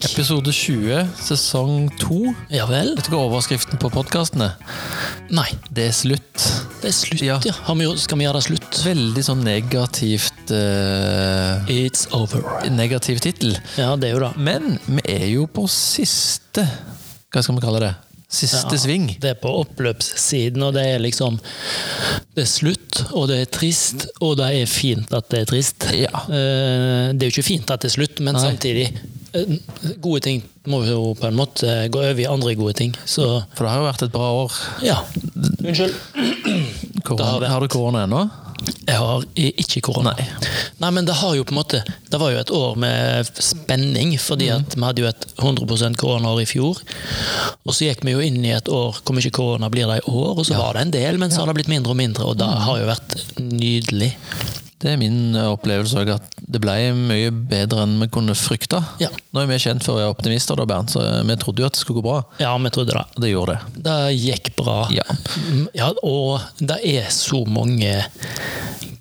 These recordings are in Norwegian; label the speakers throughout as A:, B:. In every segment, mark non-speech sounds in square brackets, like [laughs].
A: Episode 20, sesong 2.
B: Ja vel?
A: Vet du hva overskriften på podkastene?
B: Nei,
A: Det er slutt.
B: det er slutt, ja.
A: Ja.
B: Har vi, gjort- skal vi gjøre det slutt?
A: Veldig sånn negativt eh,
B: It's over.
A: Negativ tittel.
B: Ja, det er jo det.
A: Men vi er jo på siste Hva skal vi kalle det? Siste
B: Ja,
A: sving.
B: Det er på oppløpssiden, og det er liksom Det er slutt, og det er trist, og det er fint at det er trist.
A: Ja.
B: Eh, Det er jo ikke fint at det er slutt, men
A: Nei.
B: samtidig eh, Gode ting må jo på en måte gå over i andre gode ting, så
A: For det har jo vært et bra år.
B: ja. Unnskyld.
A: Korona.
B: har
A: har,
B: vært-
A: du korona ennå?
B: Jeg har i- ikke korona. Nei. men det har jo på en måte Det var jo et år med spenning, fordi at vi hadde jo et 100 koronaår i fjor. Og så gikk vi jo inn i et år hvor mye korona blir det i år, og så var det en del, men så har det blitt mindre og mindre, og det har jo vært nydelig.
A: Det er min eh, opplevelse òg, at det ble mye bedre enn vi kunne frykta.
B: Ja.
A: Nå er vi kjent for å være optimister, da, Bernt, så eh, vi trodde jo at det skulle gå bra.
B: Ja, vi trodde det.
A: Og det gjorde det.
B: Det gikk bra.
A: Ja.
B: Mm, ja og det er så mange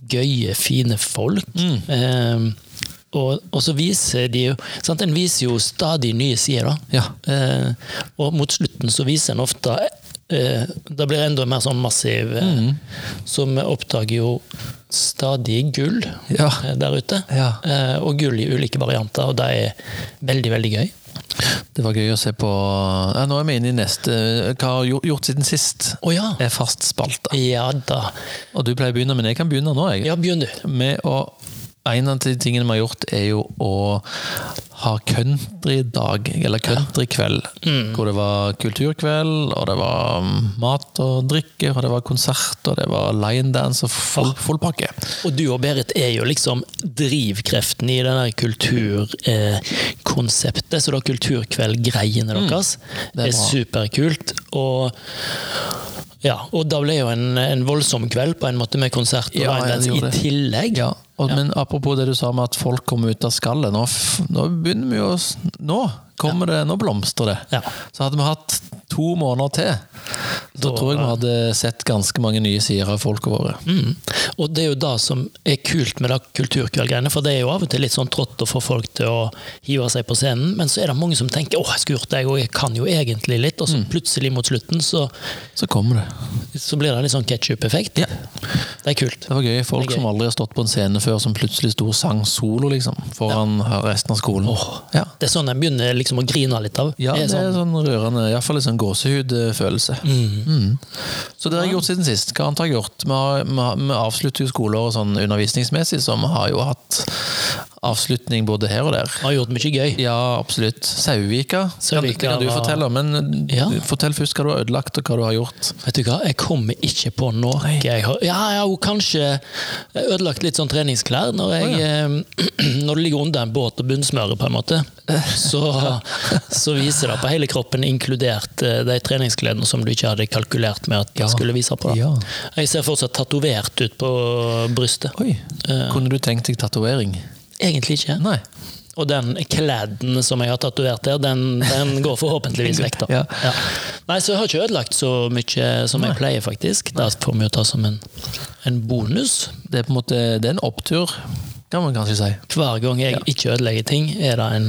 B: gøye, fine folk. Eh, og, og så viser de jo sant? En viser jo stadig nye sider, da.
A: Ja.
B: Eh, og mot slutten så viser en ofte eh, Det blir enda mer sånn massiv eh, Så vi oppdager jo stadig gull
A: Ja.
B: eh, der ute.
A: Ja.
B: Eh, og gull i ulike varianter, og det er veldig, veldig gøy.
A: Det var gøy å se på ja, Nå er vi inne i neste eh, Hva har gjort, gjort siden sist?
B: Å ja!
A: Er fast spalte.
B: Ja da.
A: Og du pleier å begynne, men jeg kan begynne nå, jeg.
B: Ja, begynn du.
A: med å En av de tingene vi har gjort, er jo å ha countrydag, eller countrykveld.
B: Mm.
A: Hvor det var kulturkveld, og det var mm, mat og drikke, og det var konsert, og det var linedance og full, full pakke.
B: Og du og Berit er jo liksom drivkreften i det der kulturkonseptet. så da kulturkveldgreiene deres
A: Mm. det er
B: er,
A: bra.
B: superkult. Og, ja, og da ble jo en, en voldsom kveld på en måte med konsert og
A: Ja, ja, det
B: linedance
A: gjorde
B: i
A: det.
B: tillegg.
A: Ja, og, Men apropos det du sa med at folk kommer ut av skallet. Nå, f- nå begynner vi jo å s- Nå kommer det, nå blomstrer det.
B: Ja.
A: Så hadde vi hatt to måneder til, så
B: Da-
A: tror jeg vi hadde sett ganske mange nye sider av folka våre.
B: Mm. Og det er jo det som er kult med det kulturkveldgreiene, for det er jo av og til litt sånn trått å få folk til å hive seg på scenen, men så er det mange som tenker 'Å, jeg skulle gjort det, jeg òg, jeg kan jo egentlig litt',
A: Mm.
B: og så plutselig mot slutten så
A: Så kommer det.
B: så blir det litt sånn ketsjup-effekt. Det er kult.
A: Det var gøy. Folk
B: Det er gøy.
A: som aldri har stått på en scene før, som plutselig sto og sang solo liksom, foran resten av skolen. Ja.
B: Det er sånn jeg begynner liksom å grine litt av.
A: ja,
B: Det er sånn,
A: sånn rørende. Iallfall en sånn gåsehudfølelse. Mm. Så det har jeg gjort siden sist. Hva annet har jeg gjort? Vi, har, vi, har, vi avslutter jo skoleåret sånn undervisningsmessig, så vi har jo hatt avslutning både her og der.
B: har gjort mye gøy.
A: Ja, absolutt. Sauvika, kan, det
B: Sauvika
A: kan du
B: var-
A: fortelle. Men eh,
B: Ja.
A: fortell først hva du har ødelagt, og hva du har gjort.
B: Vet du hva, jeg kommer ikke på noe.
A: Nei.
B: Jeg har ja, jeg har jo kanskje ødelagt litt sånn treningsklær når jeg eh, [clears throat] Når det ligger under en båt og bunnsmører, på en måte, så, så viser det på hele kroppen, inkludert eh, de treningsklærne som du ikke hadde kalkulert med at
A: Ja.
B: jeg skulle vise på. da.
A: Ja.
B: Jeg ser fortsatt tatovert ut på brystet.
A: Oi.
B: Eh.
A: Kunne du tenkt deg tatovering?
B: Egentlig ikke.
A: Nei.
B: Og den klæden som jeg har tatovert der, den, den går forhåpentligvis vekk. da.
A: [laughs] Ja.
B: Ja. Nei, Så jeg har ikke ødelagt så mye som jeg pleier, faktisk. Det får vi jo ta som en, en bonus.
A: Det er på en måte det er en opptur, kan man kanskje si.
B: Hver gang jeg ikke ødelegger ting, er det en,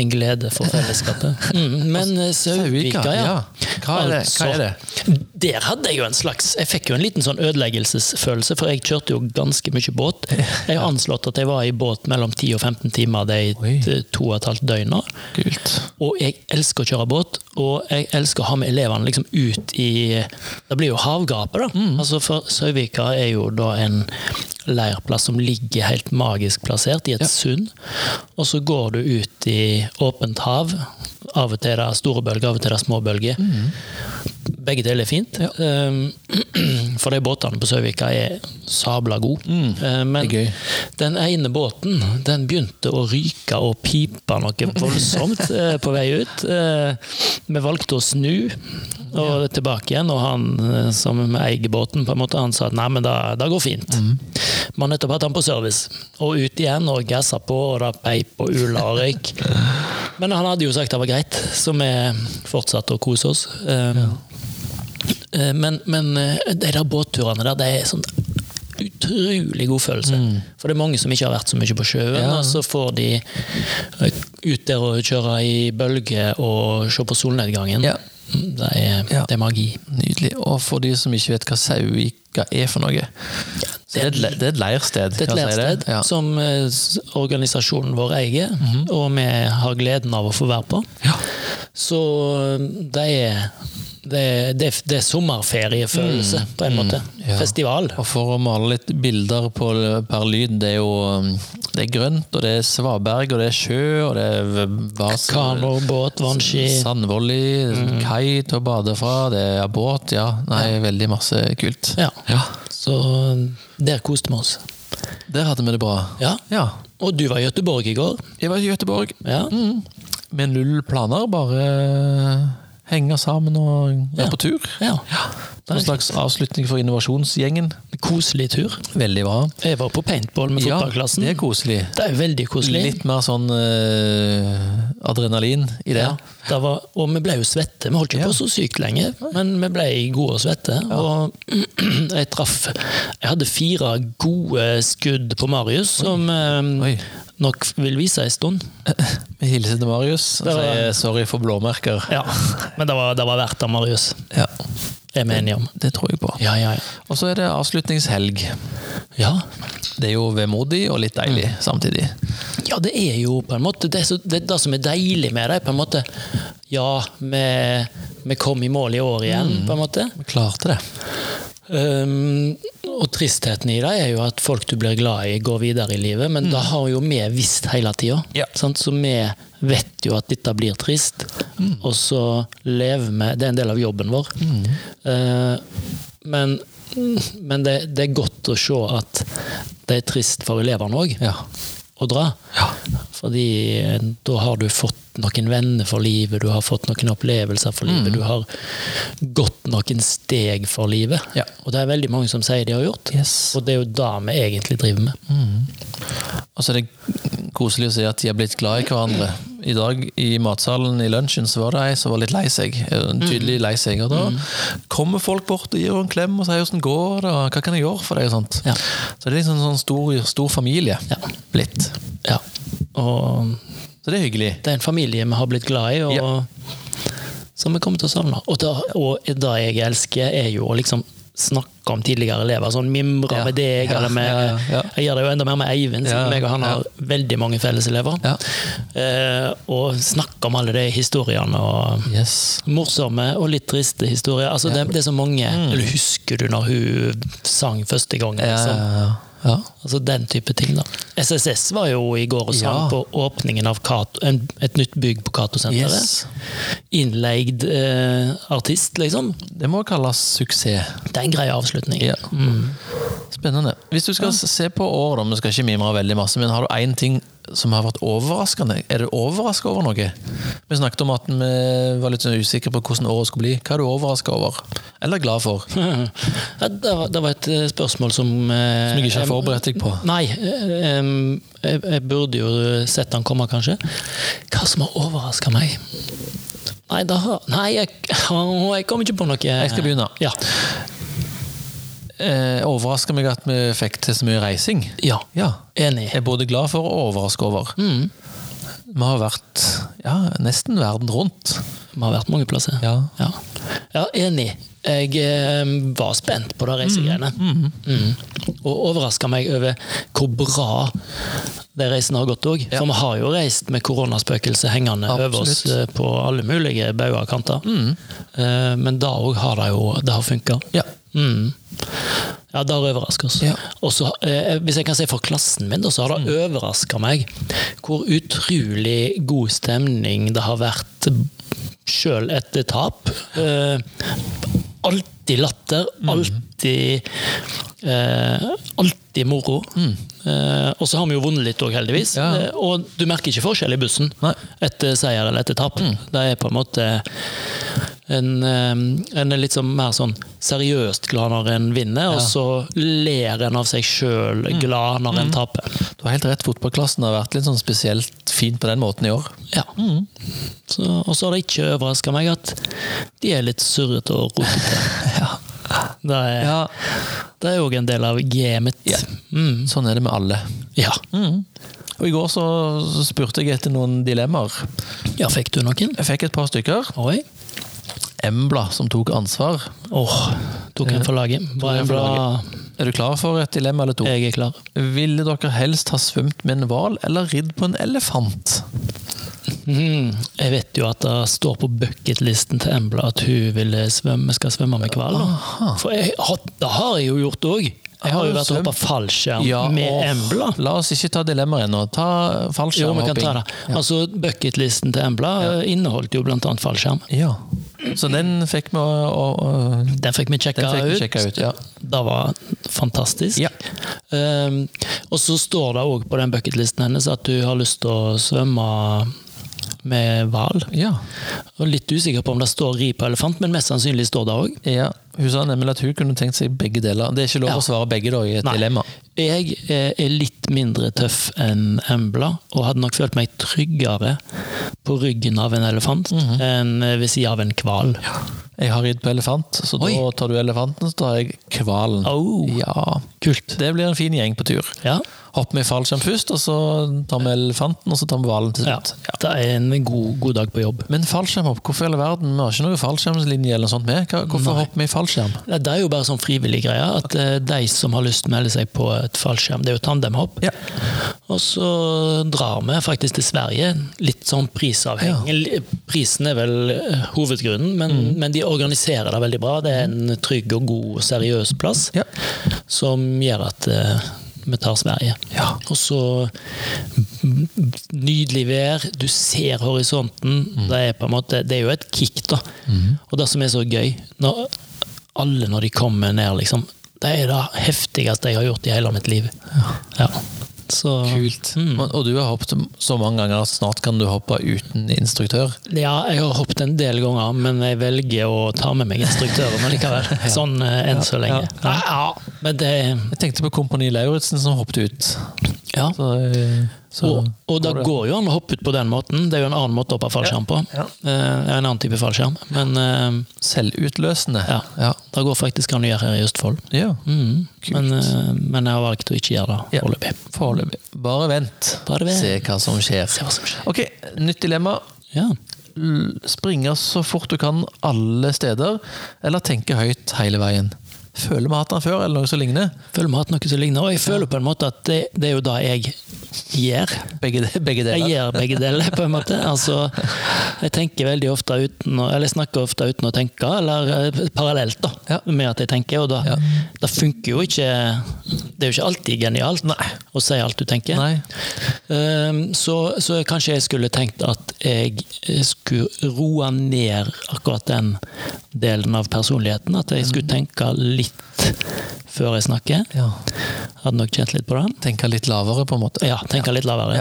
B: en glede for fellesskapet.
A: [laughs]
B: Mm, men eh, Sauvika,
A: Sauvika,
B: ja.
A: ja. Hva er det? Hva er det?
B: Der hadde jeg jo en slags Jeg fikk jo en liten sånn ødeleggelsesfølelse, for jeg kjørte jo ganske mye
A: [laughs]
B: båt. Jeg har anslått at jeg var i båt mellom 10 og 15 timer de
A: Oi.
B: t- to og et halvt døgna.
A: Kult.
B: Og jeg elsker å kjøre båt, og jeg elsker å ha med elevene liksom ut i Det blir jo havgapet, da. Altså for Søvika er jo da en leirplass som ligger helt magisk plassert i et sund. Og så går du ut i åpent hav. Av og til er det store bølger, av og til er det små bølger. Begge deler er fint. Um, [clears throat] for de båtene på Søvika er sabla gode. Uh,
A: Mm.
B: men
A: Det er gøy.
B: den ene båten den begynte å ryke og pipe
A: [laughs]
B: noe voldsomt eh, på vei ut. Eh, Vi valgte å snu og tilbake igjen, og han eh, som eier båten, på en måte, han sa at nei, men det, det går fint.
A: Mm.
B: Vi har nettopp hatt han på service, og ut igjen og gassa på, og det peip og ula
A: [laughs]
B: og røyk. Men han hadde jo sagt det var greit, så vi fortsatte å kose oss. Eh, Eh, Men, men eh, de der båtturene der, det er sånn Mm. utrolig god følelse. For det er mange som ikke har vært så mye på sjøen, og så får de eh, ut der og kjøre i bølger og se på solnedgangen. Mm,
A: Ja.
B: Det, er,
A: Ja.
B: det er magi.
A: Nydelig. Og for de som ikke vet hva Sauvika er for noe, så er det, et le- det er et leirsted.
B: Det er et
A: kan jeg si
B: lærested
A: Ja.
B: som eh, s- organisasjonen vår eier, og vi har gleden av å få være på.
A: Ja.
B: Så eh, det er, det er, det er, det er sommerferiefølelse, på en måte.
A: Ja.
B: Festival.
A: Og for å male litt bilder på, per lyd, det er jo um, det er grønt, og det er svaberg, og det er sjø, og det er v- vas-
B: Kanoer, båt, vannski.
A: Sandvolley, kai til å bade fra, det er båt, Mm. ja. Nei, veldig masse kult.
B: Ja.
A: Ja,
B: Så der koste vi oss.
A: Der hadde vi det bra.
B: Ja.
A: Ja.
B: Og du var i Gøteborg i går.
A: Jeg var i Gøteborg
B: Ja.
A: mm. med null planer, bare eh, henge sammen og være
B: Ja.
A: på tur.
B: ja.
A: Det er en slags avslutning for innovasjonsgjengen.
B: Koselig tur.
A: Veldig bra.
B: Jeg var på paintball med fotballklassen.
A: Ja, det er koselig.
B: det er veldig koselig.
A: Litt mer sånn eh, adrenalin i det.
B: Ja, det var, og vi ble jo svette. Vi holdt ikke på så sykt lenge, men vi ble gode og svette. Og [clears throat] jeg traff Jeg hadde fire gode skudd på Marius, som eh,
A: Oi. [laughs]
B: nok vil vise ei stund.
A: Vi hilser til Marius og
B: Det var-
A: sier sorry for blåmerker.
B: Ja, Men det var, det var verdt det, Marius.
A: Ja,
B: Det er vi enige om.
A: Det tror jeg på.
B: Ja, ja,
A: Og så er det avslutningshelg.
B: ja. ja.
A: Det er jo vemodig og litt deilig
B: Mm.
A: samtidig.
B: Ja, det er jo på en måte Det, er så, det, er det som er deilig med det, på en måte Ja, vi, vi kom i mål i år igjen,
A: Mm.
B: på en måte.
A: Vi klarte det.
B: Um, og tristheten i det er jo at folk du blir glad i, går videre i livet, men det har jo vi visst hele tida.
A: Mm. Ja.
B: Så vi vet jo at dette blir trist,
A: Mm.
B: og så lever vi Det er en del av jobben vår. Eh, men men det, det er godt å se at det er trist for elevene òg
A: Ja.
B: å dra.
A: Ja.
B: Fordi eh, da har du fått noen venner for livet, du har fått noen opplevelser for
A: Mm.
B: livet, du har gått noen steg for livet.
A: Ja.
B: Og det er veldig mange som sier de har gjort,
A: Yes. Mm.
B: og det er jo det vi egentlig driver med.
A: Og så er det koselig å se at de har blitt glad i hverandre. I dag i matsalen i lunsjen så var det ei som var litt lei seg. eh,
B: Mm.
A: Tydelig lei seg. Og da kommer folk bort og gir henne en klem og sier 'åssen går det', og 'hva kan jeg gjøre for deg'? og sånt.
B: Ja.
A: Så det er liksom en sånn stor, stor familie
B: Ja.
A: blitt.
B: Ja. Og
A: Så det er hyggelig.
B: det er en familie vi har blitt glad i, og som vi kommer til å savne. Og det, og det jeg elsker, er jo å liksom snakke om tidligere elever. Sånn mimre
A: Ja.
B: med deg,
A: Ja,
B: eller med
A: ja, ja, ja.
B: Jeg gjør det jo enda mer med Eivind, siden
A: Ja,
B: meg og han
A: ja.
B: har veldig mange felleselever.
A: Ja.
B: Eh, og snakke om alle de historiene. og
A: Yes.
B: Morsomme og litt triste historier. Altså, det, det er så mange. Eller husker du når hun sang første gangen?
A: Mm. Ja,
B: Liksom?
A: ja, ja. Eh, ja.
B: Altså den type ting, da. SSS var jo i går og sang
A: Ja.
B: på åpningen av Cato- en, et nytt bygg på Cato-senteret.
A: Yes.
B: Innleid eh, artist, liksom.
A: Det må kalles suksess.
B: Det er en grei avslutning. Mm.
A: Ja. Spennende. Hvis du skal se på år, da, vi skal ikke mimre veldig masse, men har du én ting som har vært overraskende? Er du overraska over noe? Vi snakket om at vi var litt sånn usikre på hvordan året skulle bli. Hva er du overraska over? Eller glad for? Som
B: [laughs] Ja, det, var, det var et eh, spørsmål som eh,
A: jeg ikke har
B: jeg-
A: forberedt deg på.
B: Nei, eh, em, jeg, jeg burde jo sett han komme, kanskje. Hva som har overraska meg? Nei, da, har- nei jeg, [laughs] å, jeg kom ikke på noe. Jeg
A: skal begynne.
B: Ja.
A: Eh, overraska meg at vi fikk til så mye reising.
B: ja.
A: Ja.
B: Enig. Mm.
A: Jeg er både glad for og overraska over. Vi har vært ja, nesten verden rundt.
B: Vi har vært mange plasser.
A: Ja.
B: Ja, ja enig. Jeg eh, var spent på det reisegreiene. Mm. Og overraska meg over hvor bra de reisene har gått òg. For vi har jo reist med koronaspøkelset hengende over oss
A: Absolutt.
B: eh, på alle mulige bauger og kanter. Eh, Men da òg har det jo det har funka.
A: Ja.
B: Mm. Ja, det har overraska oss.
A: Ja.
B: Og så, eh, hvis jeg kan si for klassen min, da, så har det overraska meg hvor utrolig god stemning det har vært sjøl etter tap. Eh, alltid latter,
A: Mm.
B: alltid eh, Alltid moro. Eh, og så har vi jo vunnet litt òg, heldigvis.
A: Mm. Ja.
B: Eh, og du merker ikke forskjell i bussen
A: Nei.
B: etter seier eller etter tap. Det er på en måte en, eh, en er litt sånn mer sånn seriøst glad når en vinner, og så ler en av seg sjøl glad når en taper.
A: Du har helt rett, fotballklassen har vært litt sånn spesielt fin på den måten i år. [laughs]
B: Ja. Mm. Så, og så har det ikke overraska meg at de er litt surrete og rotete. Det er- det er òg en del av gamet. Mm.
A: Ja. Sånn er det med alle.
B: Ja.
A: Og i går så spurte jeg etter noen dilemmaer.
B: Ja, fikk du noen?
A: Jeg fikk et par stykker.
B: Oi.
A: Embla, som tok ansvar.
B: Åh, tok en for laget. Var
A: en
B: en
A: for
B: bra
A: Er du klar for et dilemma eller to?
B: Jeg er klar.
A: Ville dere helst ha svømt med en hval eller ridd på en elefant?
B: Mm, jeg vet jo at det står på bucketlisten til Embla at hun ville svømme, skal svømme med hval. da. For jeg, har- det har jeg jo gjort òg. Jeg har
A: Har
B: jo
A: du
B: vært og
A: svømt?
B: hoppa fallskjerm med
A: åh,
B: Embla.
A: La oss ikke ta dilemmaer ennå. Ta
B: Jo, vi kan ta det.
A: fallskjermhopping.
B: Altså, Bucketlisten til Embla eh, inneholdt jo bl.a. fallskjerm.
A: Ja. Så den fikk vi å, å, å
B: Den fikk vi sjekka
A: Den fikk vi
B: ut.
A: sjekket ut, ja.
B: Det var fantastisk.
A: Ja.
B: Ehm, og så står det òg på den bucketlisten hennes at du har lyst til å svømme med hval.
A: Ja.
B: Og Litt usikker på om det står ri på elefant, men mest sannsynlig står det òg.
A: ja. Hun sa nemlig at hun kunne tenkt seg begge deler. Det er ikke lov
B: Ja.
A: å svare begge da, i et
B: Nei.
A: dilemma.
B: Jeg eh, er litt mindre tøff enn Embla, og hadde nok følt meg tryggere på ryggen av en elefant enn eh, ved sida av en hval.
A: Jeg har ridd på elefant, så
B: Oi.
A: da tar du elefanten, så tar jeg hvalen.
B: Au.
A: Ja.
B: Kult.
A: Det blir en fin gjeng på tur.
B: Ja.
A: Hopper vi i fallskjerm først, og så tar vi elefanten, og så tar vi hvalen til
B: ja.
A: slutt.
B: Det er en god, god dag på jobb.
A: Men fallskjermhopp, hvorfor i all verden? Vi har ikke noe fallskjermlinje eller noe sånt med. Hva- Hvorfor hopper vi i fallskjerm?
B: Nei, Det er jo bare sånn frivillig greie, at eh, de som har lyst til å melde seg på et fallskjerm, det er jo tandemhopp,
A: Ja.
B: og så drar vi faktisk til Sverige, litt sånn prisavhengig. L- Prisen er vel eh, hovedgrunnen, men, men de organiserer det veldig bra. Det er en trygg og god og seriøs plass,
A: Ja.
B: som gjør at eh, vi tar Sverige.
A: Ja.
B: Og så m- m- nydelig vær, du ser horisonten. Det, er på en måte, det er jo et kick, da. Og det som er så gøy når Alle når de kommer ned, liksom. Det er det heftigste jeg har gjort i hele mitt liv. Ja. Så
A: Kult. Men, og du har hoppet så mange ganger at snart kan du hoppe uten instruktør.
B: Ja, jeg har hoppet en del ganger, men jeg velger å ta med meg instruktøren [laughs] likevel. Sånn eh, enn så lenge. Ja, ja. Men det
A: Jeg tenkte på Kompani Lauritzen som hoppet ut.
B: Ja.
A: Så, eh, så
B: og, og det går jo an å hoppe ut på den måten. Det er jo en annen måte å hoppe fallskjerm på.
A: Ja.
B: Eh, En annen type fallskjerm. Men eh,
A: Selvutløsende.
B: Ja.
A: Ja.
B: det går faktisk an å gjøre her i Østfold.
A: Ja,
B: Mm.
A: Kult.
B: Men, eh, men jeg har valgt å ikke gjøre det
A: Ja.
B: foreløpig.
A: Foreløpig. Bare vent.
B: Bare vent.
A: Se hva som skjer.
B: Se hva som skjer.
A: Ok, Nytt dilemma.
B: Ja.
A: L- Springe så fort du kan alle steder, eller tenke høyt hele veien. Føler vi har hatt den før, eller noe som ligner?
B: Føler vi har hatt noe som ligner. Og jeg føler på en måte at det, det er jo det jeg gjør.
A: Begge, de- begge deler.
B: Jeg gjør begge deler, på en måte. Altså, jeg tenker veldig ofte uten å, eller jeg snakker ofte uten å tenke, eller eh, parallelt da,
A: Ja.
B: med at jeg tenker. Og da,
A: Ja.
B: da funker jo ikke Det er jo ikke alltid genialt å si alt du tenker.
A: Nei.
B: Ehm, så, så kanskje jeg skulle tenkt at jeg eh, skulle roe ned akkurat den delen av personligheten. At jeg skulle
A: Mm.
B: tenke litt før jeg snakker.
A: Ja.
B: Hadde nok kjent litt på den.
A: Tenke litt lavere, på en måte.
B: Ja, tenke litt lavere.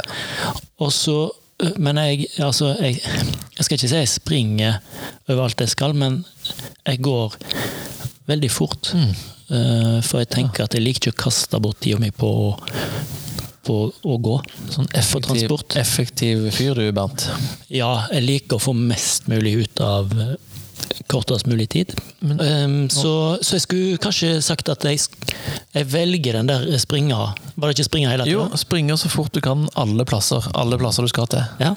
B: Og så, øh, men jeg, altså, jeg, jeg skal ikke si jeg springer overalt jeg skal, men jeg går veldig fort. Øh, for jeg tenker at jeg liker ikke å kaste bort tida mi på, å- på å gå.
A: Sånn effektiv,
B: transport.
A: effektiv fyr du, Bernt.
B: Ja, jeg liker å få mest mulig ut av øh, kortest mulig tid. Ehm, så, så jeg skulle kanskje sagt at jeg, sk- jeg velger den der springa. Var det ikke springa hele tida?
A: Jo, springe så fort du kan alle plasser. Alle plasser du skal til.
B: Ja.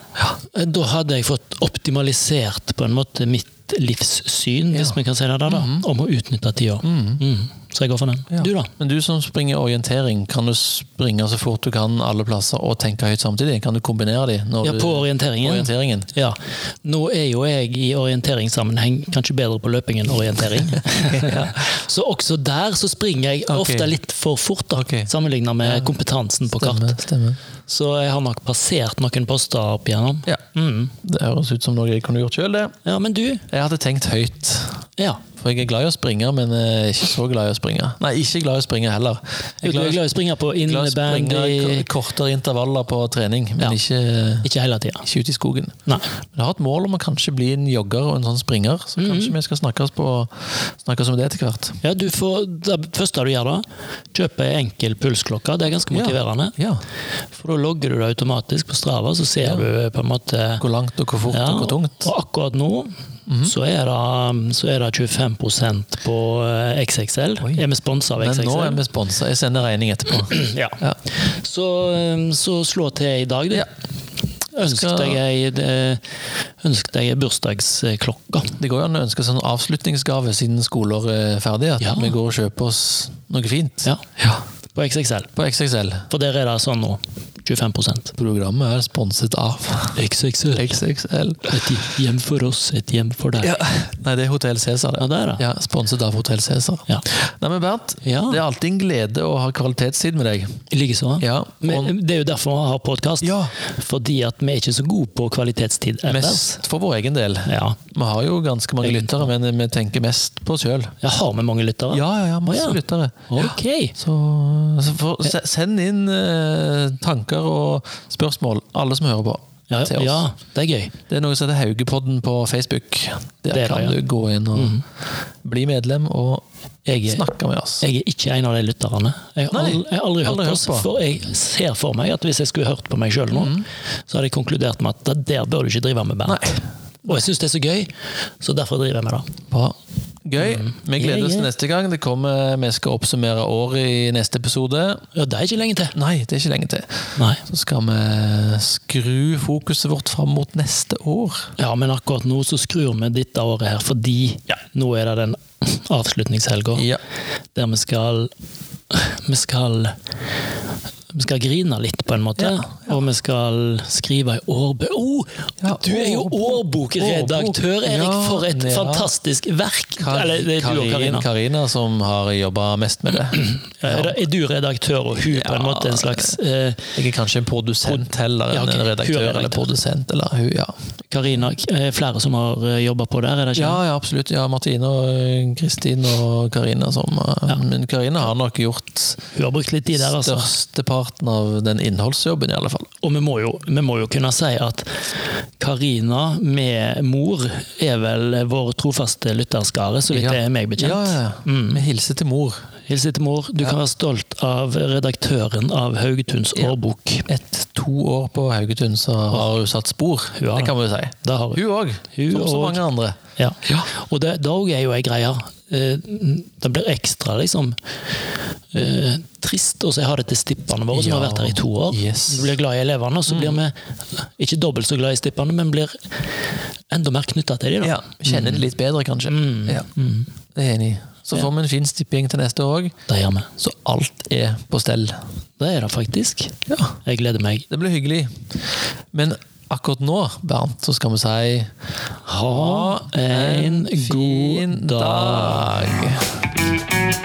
B: Da hadde jeg fått optimalisert på en måte mitt livssyn, hvis vi kan si det der, da,
A: Mhm.
B: om å utnytte tida. Mm. Så jeg går for den. Du, da?
A: Men du som springer orientering, kan du springe så fort du kan alle plasser og tenke høyt samtidig? Kan du kombinere de? Når
B: Ja,
A: du,
B: på orienteringen.
A: orienteringen?
B: Ja. Nå er jo jeg i orienteringssammenheng kanskje bedre på løping enn orientering.
A: [laughs]
B: ja. Så også der så springer jeg
A: Ok.
B: ofte litt for fort, da,
A: Ok.
B: sammenlignet med kompetansen på
A: Stemmer,
B: kart.
A: stemmer.
B: Så jeg har nok passert noen poster opp igjennom.
A: Ja.
B: Mm.
A: Det høres ut som noe jeg kunne gjort sjøl, det.
B: Ja, men du?
A: Jeg hadde tenkt høyt.
B: Ja.
A: For jeg er glad i å springe, men eh, ikke så glad i å springe. Nei, ikke glad i å springe heller.
B: Du
A: Jeg er glad
B: er
A: i
B: glad i å springe på
A: glad i å springe
B: innebandy
A: i kortere intervaller på trening, men
B: Ja.
A: ikke,
B: Ikke hele tida.
A: ikke ute i skogen.
B: Nei.
A: Men jeg har et mål om å kanskje bli en jogger og en sånn springer, så
B: Mhm.
A: kanskje vi skal snakkes, på, snakkes om det etter hvert.
B: Ja, du får, det første du gjør da, kjøpe ei enkel pulsklokke. Det er ganske motiverende.
A: Ja.
B: For da logger du det automatisk på Strava, så ser du på en måte
A: Hvor langt og hvor fort
B: Ja,
A: og hvor tungt. Mhm.
B: Og akkurat nå så, er det, så er det 25 på eh, XXL.
A: Oi.
B: Er vi sponsa av
A: Men
B: XXL?
A: nå er vi sponsa. Jeg sender regning etterpå.
B: [clears throat] Ja.
A: Ja.
B: Så, eh, så slå til i dag, du.
A: Ja.
B: Ønsk
A: Skal-
B: deg ei eh, Ønsk deg ei bursdagsklokke.
A: Det går jo an å ønske sånn avslutningsgave siden skoleåret er ferdig, at
B: Ja.
A: vi går og kjøper oss noe fint.
B: Ja,
A: Ja,
B: på XXL.
A: På XXL.
B: For der er det sånn nå. 25
A: Programmet er sponset
B: [laughs]
A: av
B: XXL.
A: XXL.
B: Et hjem for oss, et hjem for deg.
A: Ja. Nei, det er Hotell Cæsar.
B: Ja,
A: det.
B: der, ja.
A: Ja, sponset av Hotell Cæsar.
B: ja.
A: Nei, men Bernt,
B: Ja.
A: det er alltid en glede å ha kvalitetstid med deg.
B: Likeså.
A: Ja, og
B: sånn. Men det er jo derfor vi har podkast.
A: Ja.
B: Fordi at vi er ikke så gode på kvalitetstid ellers.
A: mest for vår egen del.
B: Ja.
A: Vi har jo ganske mange lyttere, men vi tenker mest på oss sjøl.
B: Jeg har med mange lyttere.
A: Ja, ja, ja, masse
B: Å, ja.
A: lyttere.
B: Ok.
A: Så, så for, se- send inn eh, tanker og spørsmål, alle som hører på,
B: Ja,
A: til oss.
B: ja, det er gøy.
A: Det er noe som heter Haugepodden på Facebook. Der
B: Det er det,
A: kan
B: ja. Mm.
A: du gå inn og bli medlem og
B: Jeg er
A: snakke med oss.
B: Jeg er ikke en av de lytterne. Jeg har
A: Nei,
B: aldri, jeg har aldri hørt
A: aldri
B: på
A: hørt
B: oss,
A: på. Mhm.
B: for jeg ser for meg at hvis jeg skulle hørt på meg sjøl nå, så hadde jeg konkludert med at det der bør du ikke drive med band.
A: Nei.
B: Og jeg syns det er så gøy, så derfor driver jeg med det.
A: Bra. Gøy. Vi gleder oss
B: Mm. Ja, ja.
A: til neste gang. Det kommer, vi skal oppsummere året i neste episode.
B: Ja, det er ikke lenge til.
A: Nei, det er ikke lenge til.
B: Nei.
A: Så skal vi skru fokuset vårt fram mot neste år.
B: Ja, men akkurat nå så skrur vi dette året her, fordi nå er det den avslutningshelga
A: Ja.
B: der vi skal Vi skal vi skal grine litt, på en måte.
A: Ja,
B: Og vi skal skrive ei årbø... Oh,
A: Ja,
B: du er jo
A: årbok.
B: årbokredaktør, Erik!
A: Ja,
B: for et
A: ja.
B: fantastisk verk!
A: Kar
B: Eller det er du og
A: Karin,
B: Karina.
A: Karina som har jobba mest med det.
B: Ja, Er, er du redaktør, og hun på en måte en slags eh,
A: Jeg er kanskje en produsent heller enn
B: Ja, ok.
A: en
B: Hun
A: redaktør
B: er redaktør.
A: eller produsent. Eller hun, ja.
B: Karina, eh, flere som har eh, jobba på der, er det
A: ja,
B: ikke?
A: ja, absolutt. Ja, Martine og Kristin og Karina som eh, Men Karina har nok gjort
B: Hun har brukt litt tid der, altså.
A: størsteparten av den innholdsjobben, i alle fall.
B: Og vi må, jo, vi må jo kunne si at Karina med mor er vel vår trofaste lytterskare, så vidt
A: Ja.
B: det er meg bekjent.
A: Ja, ja. Vi hilser til mor.
B: Hilse til mor. Du kan være stolt av redaktøren av Haugetuns årbok.
A: Et to år på Haugetun, så har hun satt spor.
B: Ja.
A: Det kan vi jo si.
B: Det har hun.
A: Hun òg,
B: Hun
A: som så
B: og-
A: mange andre.
B: Ja.
A: Ja.
B: Og det, det også er jo ei greie. Eh, Det blir ekstra liksom eh, trist å si ha det til stippene våre, som
A: Ja.
B: har vært her i to år.
A: Yes. Mm.
B: Vi blir glad i elevene, og så blir vi ikke dobbelt så glad i stippene, men blir enda mer knytta til dem. da. Mm.
A: Ja, Kjenner det litt bedre, kanskje. Mm. Ja. Det er jeg enig i. Så får vi en fin stipping til neste år òg,
B: Det gjør vi.
A: så alt er på stell.
B: Det er det faktisk.
A: Ja.
B: Jeg gleder meg.
A: Det blir hyggelig. Men akkurat nå, Bernt, så skal vi si
B: Ha en god
A: fin
B: dag.
A: dag.